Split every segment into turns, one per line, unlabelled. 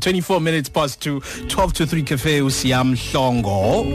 24 minutes past 2 12 to 3 cafe usiyamhlongo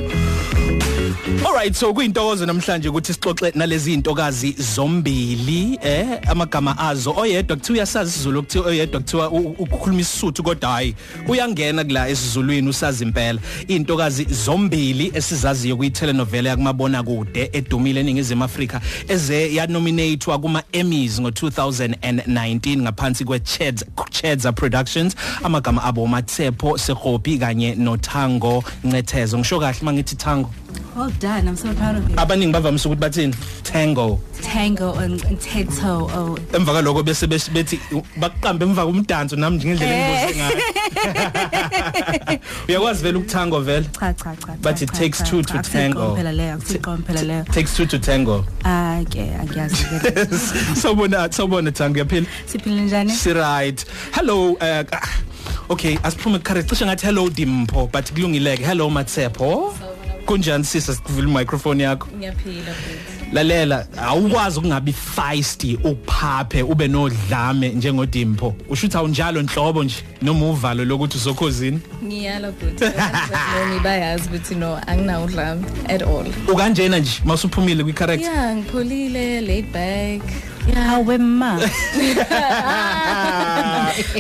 Alright so kuyintokozo namhlanje ukuthi sixoxe nalezi intokazi zombili eh amagama azo oyedwa kuthi uyasazi isiZulu kuthi oyedwa kuthi ukukhuluma isisuthu kodwa hayi uyangena kula esiZulwini usazi impela intokazi zombili esizaziyo kuyi telenovela yakumabona kude edumile eningizimu Afrika eze yanominetewa kuma Emmys ngo2019 ngaphansi kweCheds Chedza Productions amagama abo Matsepho Segopi kanye noThango Ncethezo ngisho kahle mangithi Thango
Well done. I'm so proud of you.
abaningi bavamise ukuthi bathini tango
Tango and Teto. Oh.
emva kaloko bese bes- bethi bakuqambe emva komdanso nami nje ngendlela engibose ngayo uyakwazi vele ukutango vele
Cha cha cha. cha,
But it
cha,
takes
cha,
two
cha.
to
Akusikho
tango.
Phela leyo, akusikho phela leyo.
takes two to tango
Ah, okay, angiyazi ke.
sawubona sawubona tango yaphila
Siphilile njani?
si right hello uh, ah, okay asiphume ekhare cishe ngathi hello dimpho but kulungileke hello matsepho kunjani sisa sikuvula microphone yakho
ngiyaphila futhi
lalela awukwazi ukungabi feisty uphaphe ube nodlame njengodimpho usho ukuthi awunjalo nhlobo nje noma uvalo lokuthi uzokhozini
ngiyala futhi nami bayazi ukuthi no anginawo udlame at all
ukanjena nje mawusuphumile kwi-character
yeah ngipholile laid back
Awe ma.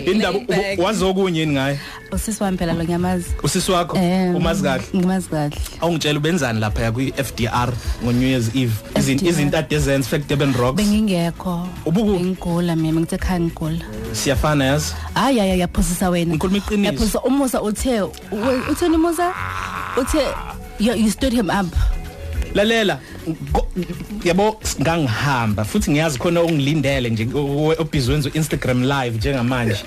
indaba
Laid back.
wazokunye yini ngaye
Usisi wami phela lo Oh, ngiyamazi.
usisi wakho
Eh,
umazi kahle
Ngimazi kahle.
awungitshela ubenzani lapha kwi-FDR ngo-New Year's Eve Izin-
FDR.
izinto ade zenza fake Durban Rocks
Bengingekho.
Ubuku-
ngigula mina ngithe khaya ngigula.
siyafana yazi
Hayi hayi yaphosisa wena.
Ngikhuluma iqiniso.
Yaphosisa umusa uthe we- utheni umusa? Uthe you you stood him up.
lalela ngo- yabo ngangihamba futhi ngiyazi khona ongilindele nje obhizi wenza Instagram live njengamanje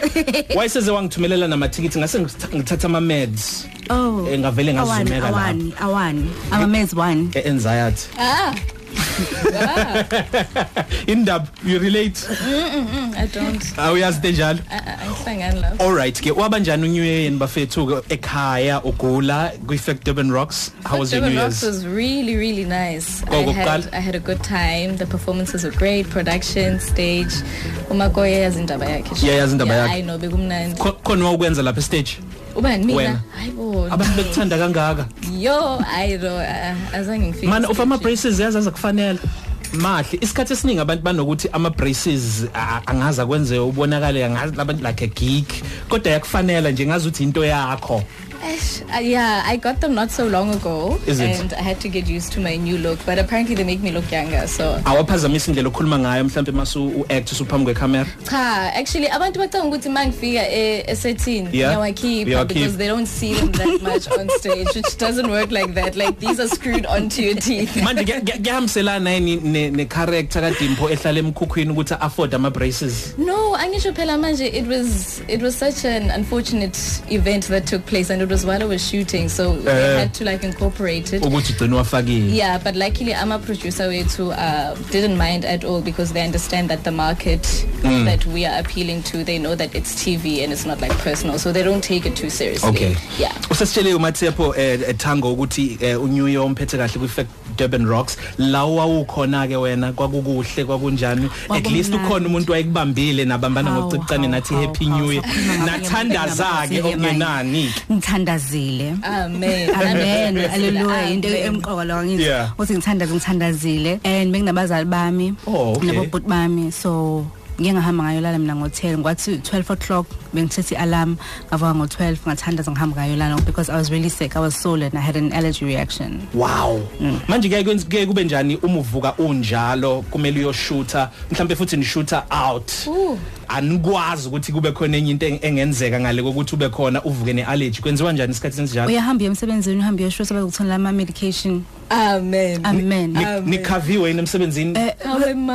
wayeseze wangithumelela namathikithi ngase ngitha- ngithatha ama meds
Oh.
Eh, ngavele ngazimeka lapha.
Awani, awani. Amamez one.
e anxiety
ah
indaba you relate Ah,
i don't
awuyazi njalo
ayihlangani la
all right ke waba njani u New Year yini bafethu ke ekhaya ugula kwi Fact Durban Rocks how was your New
Rock
Year's
was really really nice
Go, go,
i had
Kal.
i had a good time the performances were great production stage umakoya yazindaba yakhe nje.
Yeah, yazi indaba
Yeah,
yakhe.
i know bekumnandi
Kho- khona wakwenza lapha stage
ubani
Wena.
mina hayibo
abantu bekuthanda kangaka
yo i know uh, azange ngifike
mana of ama
stage.
braces yazi azakufanele mahle isikhathi esiningi abantu banokuthi ama braces ah, angaza kwenzeka ubonakale angazi abantu like a geek kodwa yakufanele nje ngazi ukuthi into yakho
Eish, uh, yeah, I got them not so long ago,
Is it?
and I had to get used to my new look. But apparently, they make me look younger. So,
awaphazamisa indlela okhuluma ngayo mhlawumbe masu uact usuphambi kwecamera
cha, actually, abantu bacanga ukuthi mangifika esetini
Yeah.
ngiyawakhipha
Uyawakhipha.
because they don't see them that much on stage, which doesn't work like that. Like these are screwed onto your teeth.
manje kuya- kuya- kuyahambiselana yini ne- ne character kadimpo ehlala emkhukhwini ukuthi afford ama braces
No, angisho phela manje it was it was such an unfortunate event that took place and it was while I was shooting so we
Eh.
had to like incorporate it.
ukuthi ugcina wafakile
Yeah, but luckily I'm a producer way too uh, didn't mind at all because they understand that the market
Hmm.
that we are appealing to, they know that it's TV and it's not like personal, so they don't take it too seriously.
okay
Yeah.
usasitshele umathepho ethango eh, ukuthi eh, unew year umphethe kahle kwi fact durban rocks la wawukhona ke wena kwakukuhle kwakunjani at least
Kwakumnandi.
ukhona umuntu wayekubambile nabambana
Hawu,
ngokucicane
hawu,
nathi
hawu,
happy
hawu,
new year
sakhuluma ngayo
nathandaza ke
ngempela
okungenani
ngithandazile
Amen.
amen haleluya into
Amen.
emqoka lo
Yeah.
ngithi uthi ngithandaze ngithandazile and benginabazali bami
Oh, okay.
nabobhuti bami so ngike ngahamba ngayolala mina ngo-10 kwathi 12 o'clock bengithethi i-alarm ngavuka ngo-12 ngathandaza ngihamba ngayolala because i was really sick i was sore and i had an allergy reaction
wow Mm. manje ke kwenz- ke kube njani uma uvuka unjalo kumele uyoshutha mhlambe futhi nishutha out
Ooh.
anikwazi ukuthi kube khona enye into eng- engenzeka ngale kokuthi ube khona uvuke neallergy kwenziwa kanjani isikhathi esinjalo
uyahamba uye emsebenzini uhambe uyoshusa bazokuthola ama-medication
Amen.
amen
Ni- nikhaviwe yini emsebenzini
Eh,
Awe ma.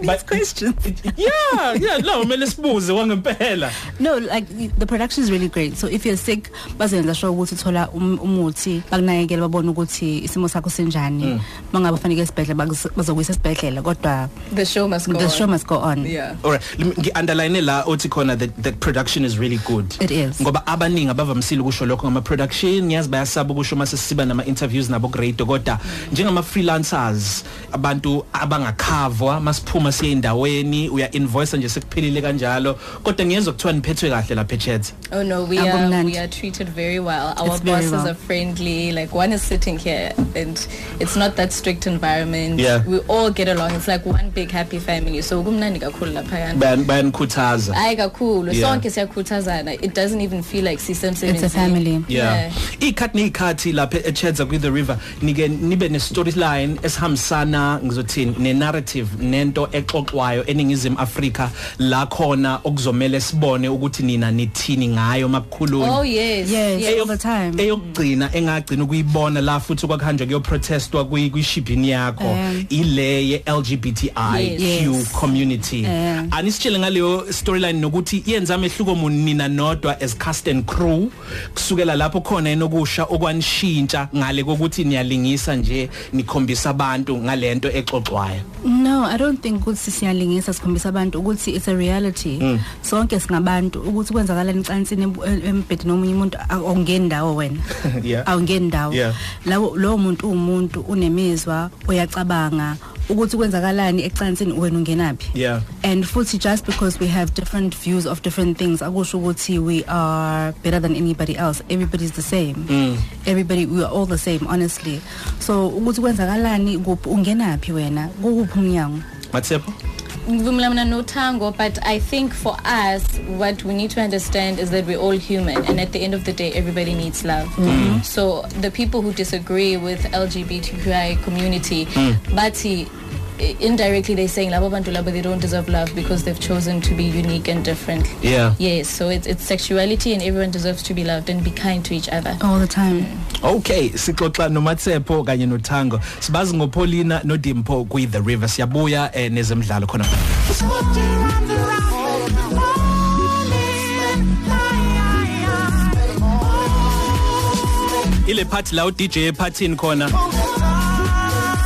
But- yeah yeah no mele sibuze wangempela
No, like the production is really great. So if you're sick, bazenza sure ukuthi uthola um- umuthi, bakunakekela babone ukuthi isimo sakho sinjani.
Mm.
Mangabe ufanele esibhedlela bakuz- bazokuyisa esibhedlela kodwa
The show must go
the show
on.
must go on.
Yeah.
all right ngi underline la othi khona that the production is really good
It is.
ngoba abaningi abavamisile ukusho lokho ngama production ngiyazi bayasaba ukusho mase siba nama interviews nabo grade kodwa njengama freelancers abantu abangakhavwa masiphuma siye endaweni uya invoice nje sekuphelile kanjalo kodwa ngiye niyezwa kuthiwa niphethwe kahle lapha eChat
Oh no, we are
Abundant.
we are treated very well. Our
It's very
bosses
well.
are friendly. Like one is sitting here, and it's not that strict environment.
Yeah.
we all get along. It's like one big happy family. So kumnandi kakhulu laphayana.
bayanikhuthaza
Hayi kakhulu.
Yeah.
Sonke siyakhuthazana. It doesn't even feel like sisemsebenzini.
It's a family.
yeah ikhathi nikhathi lapha eChatsa kwi the river nike nibe ne storyline esihambisana ngizothini ne narrative nento exoxwayo eningizimu Africa la khona okuzomela sibone ukuthi nina nithini ngayo makukhuluni
Oh yes.
Yes.
yes.
all the time.
eyokugcina engagcina ukuyibona la futhi kwakuhanjwa kuyo protestwa kwishibhini yakho
Eh.
ile ye LGBTIQ
Yes.
community
Eh.
anisitshele ngaleyo storyline nokuthi yenza amehluko munina nodwa as cast and crew kusukela lapho khona enokusha okwanishintsha ngale kokuthi niyalingisa nje nikhombisa abantu ngalento exoxwayo
No, I don't think ukuthi siyalingisa sikhombisa abantu ukuthi it's a reality.
Mm.
Sonke singabantu ukuthi kwenzakalani cantsini embhedeni nomunye umuntu awungeni ndawo wena.
Yeah.
Awungeni ndawo.
Yeah.
Lawo lo muntu umuntu unemizwa, uyacabanga ukuthi kwenzakalani ecansini wena ungenapi.
Yeah.
And futhi just because we have different views of different things akusho ukuthi we are better than anybody else. Everybody's the same. Mm. Everybody we are all the same honestly. So ukuthi kwenzakalani kuphi ungenapi wena? Kuphi umnyango?
Matsepho
Ngivumelana no tango, but I think for us, what we need to understand is that we're all human, and at the end of the day, everybody needs love. So the people who disagree with LGBTQI community, but he- i- indirectly they're saying labo bantu labo they don't deserve love because they've chosen to be unique and different.
yeah
Yes, so it's, it's sexuality, and everyone deserves to be loved and be kind to each other.
All the time.
Okay sixoxa noMatsepho kanye noThango sibazi ngoPaulina noDimpho kwi The River siyabuya eh, nezemidlalo khona ile party la uDJ ephathini khona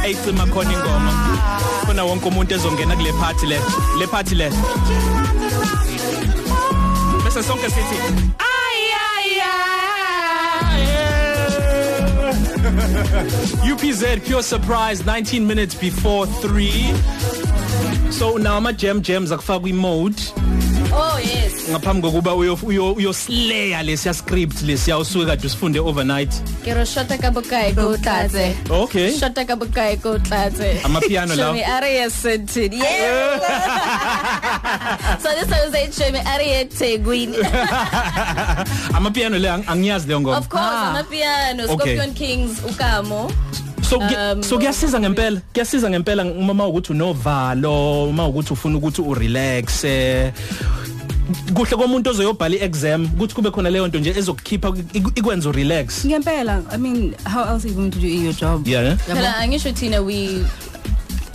ayicima khona ingoma khona wonke umuntu ezongena kule party le le party le bese sonke sithi UPZ Pure Surprise 19 minutes before 3 So now ama jam jams akufaka imode
Oh yes,
ngaphambi kokuba uyo uyo uyo slayer lesiya script lesiya usuke kade usifunde overnight
kero shota kabukai go tlaze.
Okay
Shota kabukai go tlaze.
Amapiano lawo.
Shomi Arias Sentin. Yeah. so this one is a Shomi Arias Teguini.
amapiano le ang- angiyazi leyo
Of
ngoma
course,
Ah.
Amapiano,
Okay.
Scorpion Kings, Ukamo.
so kuya-
um,
so kuyasiza ngempela kuyasiza ngempela uma ukuthi unovalo uma ukuthi ufuna ukuthi urelax kuhle komuntu ozoyobhala iexam ukuthi kube khona leyo nto nje ezokukhipha iku- ikwenza urelax
Ngempela, I mean, how else are you going to do your job?
Yeah, yeah.
Yabo?
Phela angisho thina we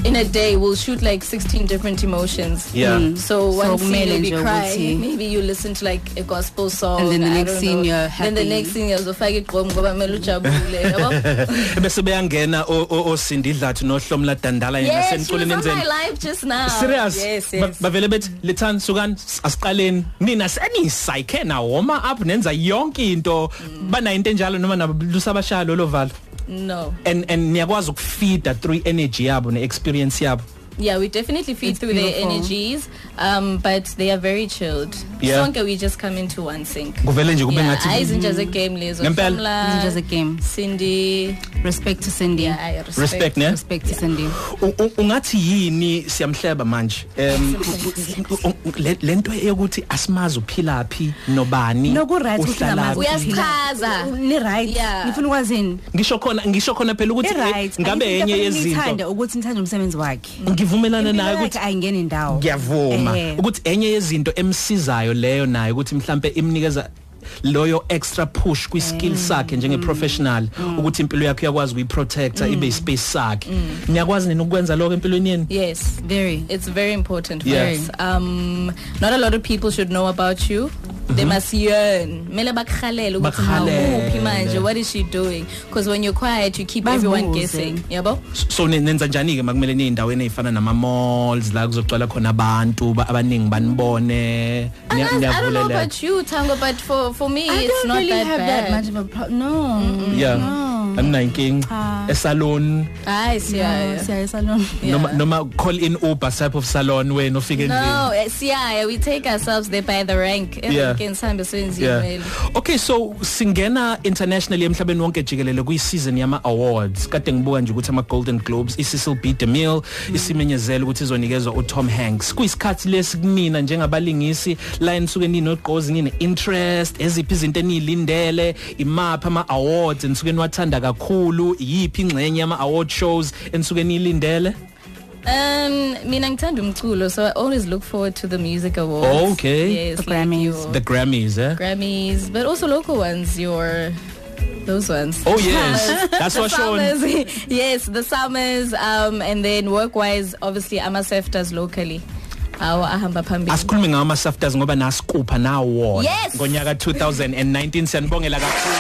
in a day we'll shoot like 16 different emotions.
Yeah. Mm.
So
Hmm. So
one scene
kumele
you'll be
nje
crying,
ukuthi-
maybe you listen to like a gospel song.
And then the
I
next
don't
scene
know.
you're
Then the
happy.
next scene uzofaka igqomo ngoba kumele ujabule. yabo?
bese beyangena o- o- osindi dlathu nohlomla dandala yena
Yes, she was
seniculeni
on my
enzeni
live just now.
serious
Yes,
Ba-
yes.
bavele bethi lethani sukani s- asiqaleni nina seniyisayikhe na warm up nenza yonke into
Mm.
banayo into enjalo noma nabalusa abashalo lovalo
no.
and and niyakwazi ukufeeda through energy yabo ne-experience yabo
Yeah, we definitely feed
It's
through
beautiful.
their energies, um, but they are very chilled.
Yeah.
Sonke we just come into one sink.
kuvele nje kube
Yeah, ah, I
ngathi
isn't just a
Mm-hmm.
game, Liz.
Ngempela.
It's just a game.
Cindy.
Respect to Cindy.
Yeah, I respect.
respect ne
Respect to Cindy.
U- u- ungathi yini siyamhleba manje um u- u- le- lento eyokuthi asimazi uphila phi nobani
Noku right ukuthi
uhlalaphi.
ngamazi
Uyasichaza.
Ni right.
Yeah.
Nifuna ukwazini.
ngisho khona ngisho khona phela ukuthi
Ni right.
eh, ngabe
Ayikho into
enye
efanele niyithande
yezinto
ukuthi nithande umsebenzi wakhe.
ngivumelana naye
Impilo
ukuthi
yakhe ayingeni ndawo.
ngiyavuma
Eh.
ukuthi enye yezinto emsizayo leyo nayo ukuthi mhlambe imnikeza loyo extra push kwi
Mm.
skill sakhe njenge professional ukuthi impilo yakhe uyakwazi ukuyiprotecta
Mm.
ibe ispace sakhe niyakwazi nina ukwenza lokho empilweni yenu
Yes.
Very.
It's very important for
Yeah.
us. Um, not a lot of people should know about you. They must yearn. Mele bakhalele ukuthi
Mm-hmm. Bakhalele.
hawuphi manje, what is she doing? Because when you're quiet, you keep
Bazibuze.
everyone guessing. Yabo?
so ne- nenza njani ke makumele niyindaweni ezifana nama malls la kuzocwala khona abantu ba- abaningi banibone niya-
Unless- Mm. I don't know
niyavulela
about you, Tango, but for, for me,
I
it's
don't
not
really
that
have
bad.
that much of a problem. No.
Mm. yeah
No.
anginayinkinga esalon
Hayi siyaya.
siyayisalona
Yeah.
noma noma call in uber type of salon wena ufike
No, eh, siyaya we take ourselves there by the rank.
Yeah.
Everything sihambe senziwe.
Yeah.
vele.
Okay so singena internationally emhlabeni wonke jikelele kuyi season yama awards kade ngibuka nje ukuthi ama Golden Globes iCecil B DeMille isimenyezela ukuthi izonikezwa uTom Hanks kuyisikhathi lesikunina njengabalingisi la enisuke ninogqozi nine interest eziphi izinto enilindele imapha ama awards enisuke niwathanda kakhulu yipi ingxenye ama award shows enisuke nilindele
Um mina ngithanda umculo so I always look forward to the music awards.
Oh, Okay.
Yes,
The
like
Grammys.
your
the Grammys eh
Grammys, but also local ones, your those ones.
Oh yes that's
the
what Sean
summers, yes, the summers, um, and then work-wise, obviously, amasef does locally. Our ahamba phambili.
asikhulume ngawo ama-safters ngoba nasikupha nawo wona
Yes!
ngonyaka 2019 siyanibongela kakhulu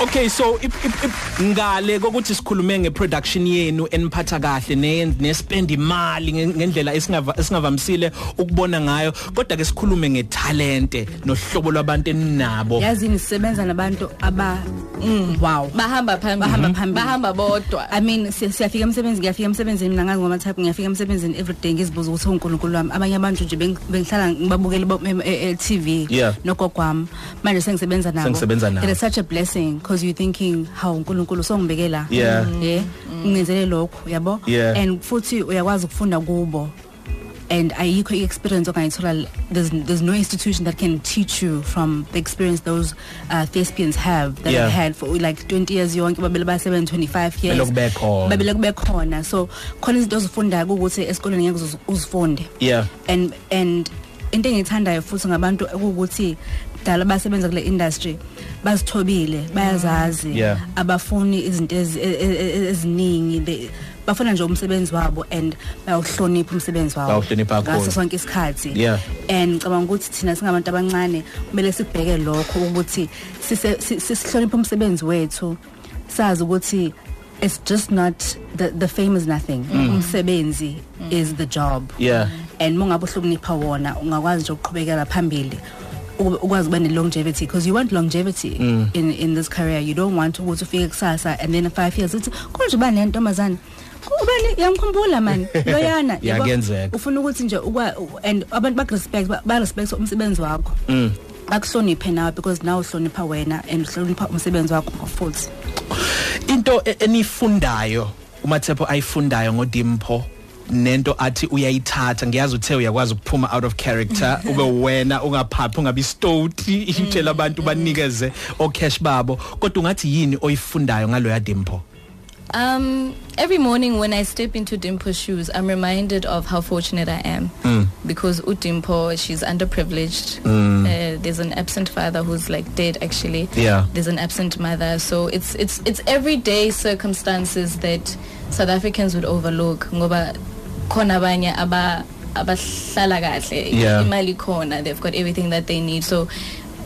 okay so ip- ip- ip- ngale kokuthi sikhulume ngeproduction yenu eniphatha kahle ne- nespend imali nge- ngendlela esingava- esingavamisile ukubona ngayo kodwa ke sikhulume ngetalente nohlobo lwabantu eninabo
yazi nisebenza nabantu aba Mm, wow
Bahamba
Bahamba
phambili.
phambili.
Bahamba bodwa.
I mean siya- siyafika emsebenzini ngiyafika emsebenzini mina ngazi ngoma type ngiyafika emsebenzini everyday ngizibuza ukuthi uNkulunkulu wami abanye abantu nje bengi- bengihlala ngibabukela bo- em- e- e- TV
Yeah.
nogogwami manje sengisebenza nabo
Sengisebenza nabo.
it is such a blessing because you thinking how uNkulunkulu songibekela Mm.
Yeah.
yeah ngizele lokho yabo
Yeah.
and futhi uyakwazi ukufunda kubo and ayikho i-experience ongayithola l- there's, there's no institution that can teach you from the experience those uh, thespians have that
Yeah.
yeah. had for like 20 years yonke babele basebenza 25 years
Kumele kube khona.
babele kube khona so khona izinto ozifundayo ukuthi esikoleni ngeke uze- uzifunde
yeah
and and into engiyithandayo futhi ngabantu ukuthi dala basebenza kule industry bazithobile bayazazi
Mm. Yeah.
abafuni izinto ezi- e- e- e- eziningi They- bafuna nje umsebenzi wabo and bayawuhlonipha umsebenzi wabo
Bawuhlonipha kakhulu.
ngaso sonke isikhathi
Yeah.
and ngicabanga ukuthi thina singabantu abancane kumele sibheke lokho ukuthi sise- si- sisihloniphe umsebenzi wethu sazi ukuthi it's just not the, the fame is nothing umsebenzi is the job
Mm. Yeah.
and mongabe uhlonipha wona ungakwazi nje ukuqhubekela phambili ube- ukwazi ukuba ne-longevity because you want longevity mm. in, in this career you don't want ukuthi ufike kusasa and then five years uthi konje ubani le ntombazane ubani yamkhumbula mani loyana yabo?"
Yakenzeka.
ufuna ukuthi nje ukwa and abantu bakurespect ba- barespect umsebenzi wakho bakuhloniphe nawe because nawe uhlonipha wena and uhlonipha umsebenzi wakho futhi
into e- enifundayo umathepho ayifundayo ngodimpho nento athi uyayithatha ngiyazi uthe uyakwazi ukuphuma out of character ube wena ungaphaphi ungabi stoti
Mm.
itshela abantu banikeze ocash babo kodwa ungathi yini oyifundayo ngaloya dimpho
Um, every morning when I step into Dimpo's shoes, I'm reminded of how fortunate I am because Udimpo, she's underprivileged. Uh, there's an absent father who's like dead actually.
Yeah.
There's an absent mother, so it's it's it's everyday circumstances that South Africans would overlook. Ngoba khona abanye aba abahlala kahle
Yeah.
imali khona they've got everything that they need so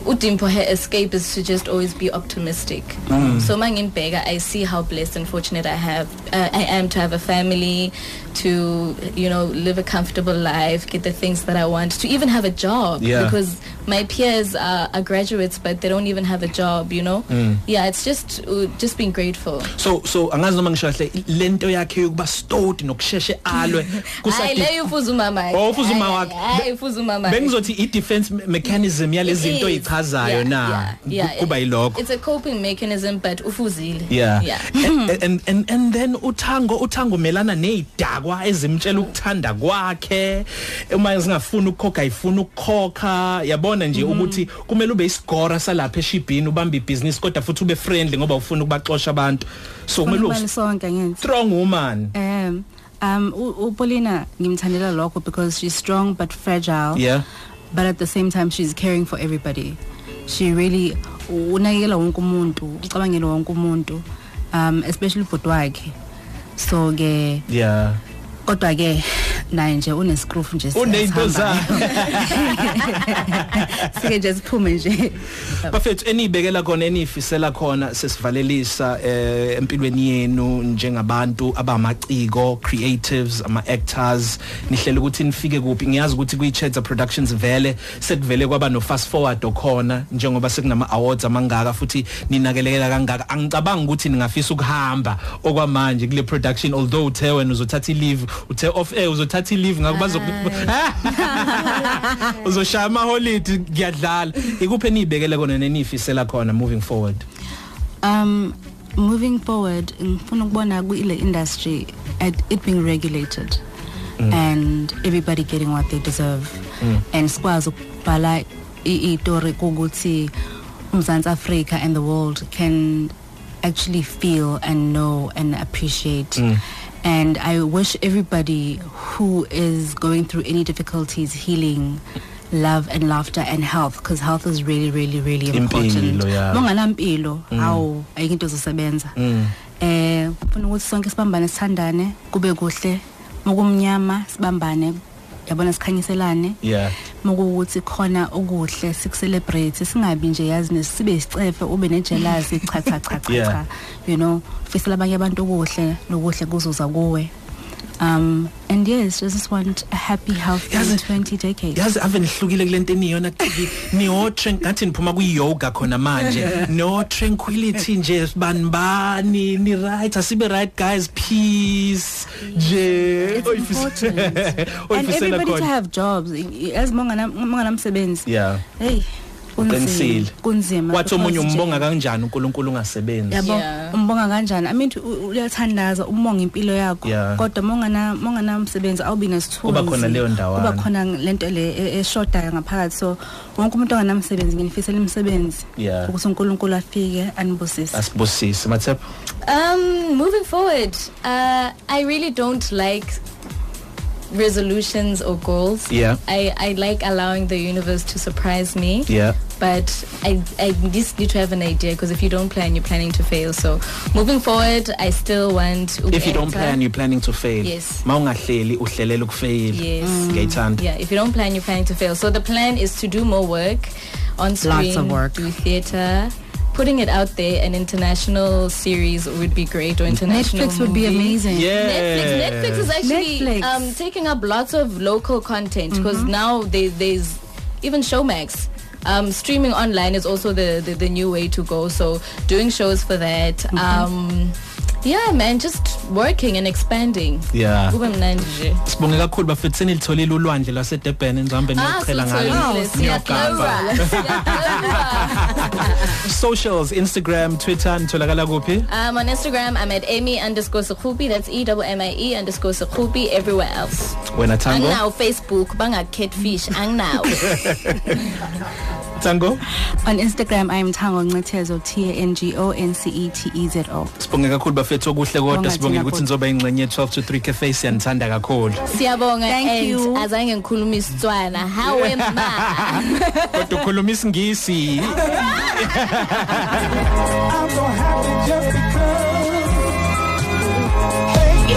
udimpo her escape is to just always be optimistic
Mm.
so mangimbheka i see how blessed and fortunate i have uh, i am to have a family to you know live a comfortable life get the things that i want to even have a job
Yeah.
because my peers are, are graduates but they don't even have a job you know
Mm.
yeah it's just uh, just being grateful
so so angazi noma ngisho kahle lento yakhe yokuba stoti nokusheshe alwe
hayi
kusadi-
leyo ufuza umama wakhe.
Oh, ufuza umama
Hayi,
wakhe.
hayi, hayi, ufuza umama wakhe.
bengizothi i-defense me- mechanism yalezi
It
zinto
is.
oyichazayo
Yeah,
na
yeah, yeah,
ku- kuba
it-
yilokho
it's a coping mechanism but ufuzile
yeah,
yeah
And, and and and then uthango uthango melana nezidakwa ezimtshela ukuthanda kwakhe uma singafuni ukukhokha ayifuni ukukhokha yabona nje ukuthi kumele ube isigora salapha eshibhini ubambe ibusiness kodwa futhi ube friendly ngoba ufuna ukubaxosha abantu so kumele
Ufuna
ube
sonke ngenzi
strong woman
Um, um, u- uPaulina ngimthandela lokho because she's strong but fragile.
Yeah.
But at the same time, she's caring for everybody. She really unakekela wonke umuntu, ucabangela wonke umuntu, um, especially ubhuti wakhe. So ke
yeah
kodwa ke naye nje unescroof nje
Unento
siyasihamba. sike nje siphume nje
bafethu eniyibekela khona eniyifisela khona sesivalelisa eh, empilweni yenu njengabantu abamaciko creatives ama-actors nihlela ukuthi nifike kuphi ngiyazi ukuthi kwi-chats productions vele sekuvele kwaba no-fast forward okhona njengoba sekunama-awards amangaka futhi ninakelekela kangaka angicabangi ukuthi ningafisa ukuhamba okwamanje kule production although uthe wena uzothatha i-leave uthe off air uzothatha i-leave ngako bazo Eh, uzoshaya amaholidi ngiyadlala ikuphi eniyibekele kona neniyifisela khona moving forward
um moving forward ngifuna ukubona kule industry at- it being regulated mm. and everybody getting what they deserve mm. and sikwazi ukubhala iitori kokuthi umzantsi africa and the world can actually feel and know and appreciate mm. and i wish everybody who is going through any difficulties healing love and laughter and health because health is really really really important
Impilo, yeah.
unganampilo
Mm.
awu ayike into zosebenza eh ufuna ukuthi sonke sibambane sithandane kube kuhle mokumnyama sibambane yabona sikhanyiselane
yeah
mokuthi khona okuhle sikucelebrate singabi nje yazi nesibe isicefe ube nejealousy cha cha cha cha
Yeah.
cha you know fisela abanye abantu okuhle nokuhle kuzoza kuwe um and yes I just want a happy healthy
Yazi-
20 decade
yazi ave nihlukile kule nto eniyona kibi niyotre ngathi niphuma kwi-yoga khona manje no-tranquility nje banibani ni-right asibe right guys peace nje
It's important. and
oyifisela
everybody to
khona
have jobs I- as mongana mongana
yeah
hey
Uqinisile.
kunzima kunzima
wathi omunye
because nje-
umbonga kanjani unkulunkulu ungasebenzi
yabo
Yeah.
umbonga kanjani i mean u- u- uyathandaza umonga impilo yakho
Yeah.
kodwa mongana mongana umsebenzi awubi nesithunzi
Kuba khona leyo ndawana.
kuba khona lento le e- eshodayo ngaphakathi so wonke umuntu onganamsebenzi nginifisela imisebenzi
Yeah.
ukuthi uNkulunkulu afike anibusise
asibusise mathepha
Um, moving forward, uh, I really don't like resolutions or goals.
Yeah.
I, I like allowing the universe to surprise me.
yeah
But I, I just need to have an idea because if you don't plan, you're planning to fail. So moving forward, I still want.
if you don't
ukuenza-
plan you're planning to fail
Yes.
mawungahleli Mm. uhlelela ukufeyila
Yes. Mm.
ngiyayithanda
Yeah, if you don't plan, you're planning to fail. So the plan is to do more work on screen,
of work.
do theater. Putting it out there, an international series would be great, or international
Netflix would be
movie.
amazing
Yeah.
Netflix, Netflix is actually
Netflix. Mm-hmm.
Um, taking up lots of local content because now they, there's even Showmax. Um, streaming online is also the, the, the new way to go. So doing shows for that.
Mm-hmm.
Um, yeah, man, just working and expanding.
yeah
Kube mnandi nje.
sibonge kakhulu bafethu senilitholile ulwandle lwasedurban enzihambe
Ah,
niyochela ngalo
so- so-
Niyogamba.
siyagloba. Siyagloba.
socials instagram twitter nitholakala kuphi
Um, on Instagram, I'm at Amy underscore Sukhubi. That's E double M I E underscore Sukhubi. Everywhere else.
wena
And
tango
now Facebook, banga catfish. And now.
tango
on Instagram I am Tango Ncetezo T A N G O N C E T E Z O
sibonge kakhulu bafethu okuhle kodwa
Bonga
sibonge
thina
ukuthi
futhi.
nizoba ingxenye ye 12 to 3 cafe siyanithanda kakhulu
Siyabonga
Thank
and
you.
azange ngikhuluma isitswana. Hawe ma.
kodwa ukhuluma isingisi
I'm so happy just because.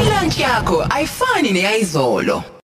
ilunch yakho ayifani neyayizolo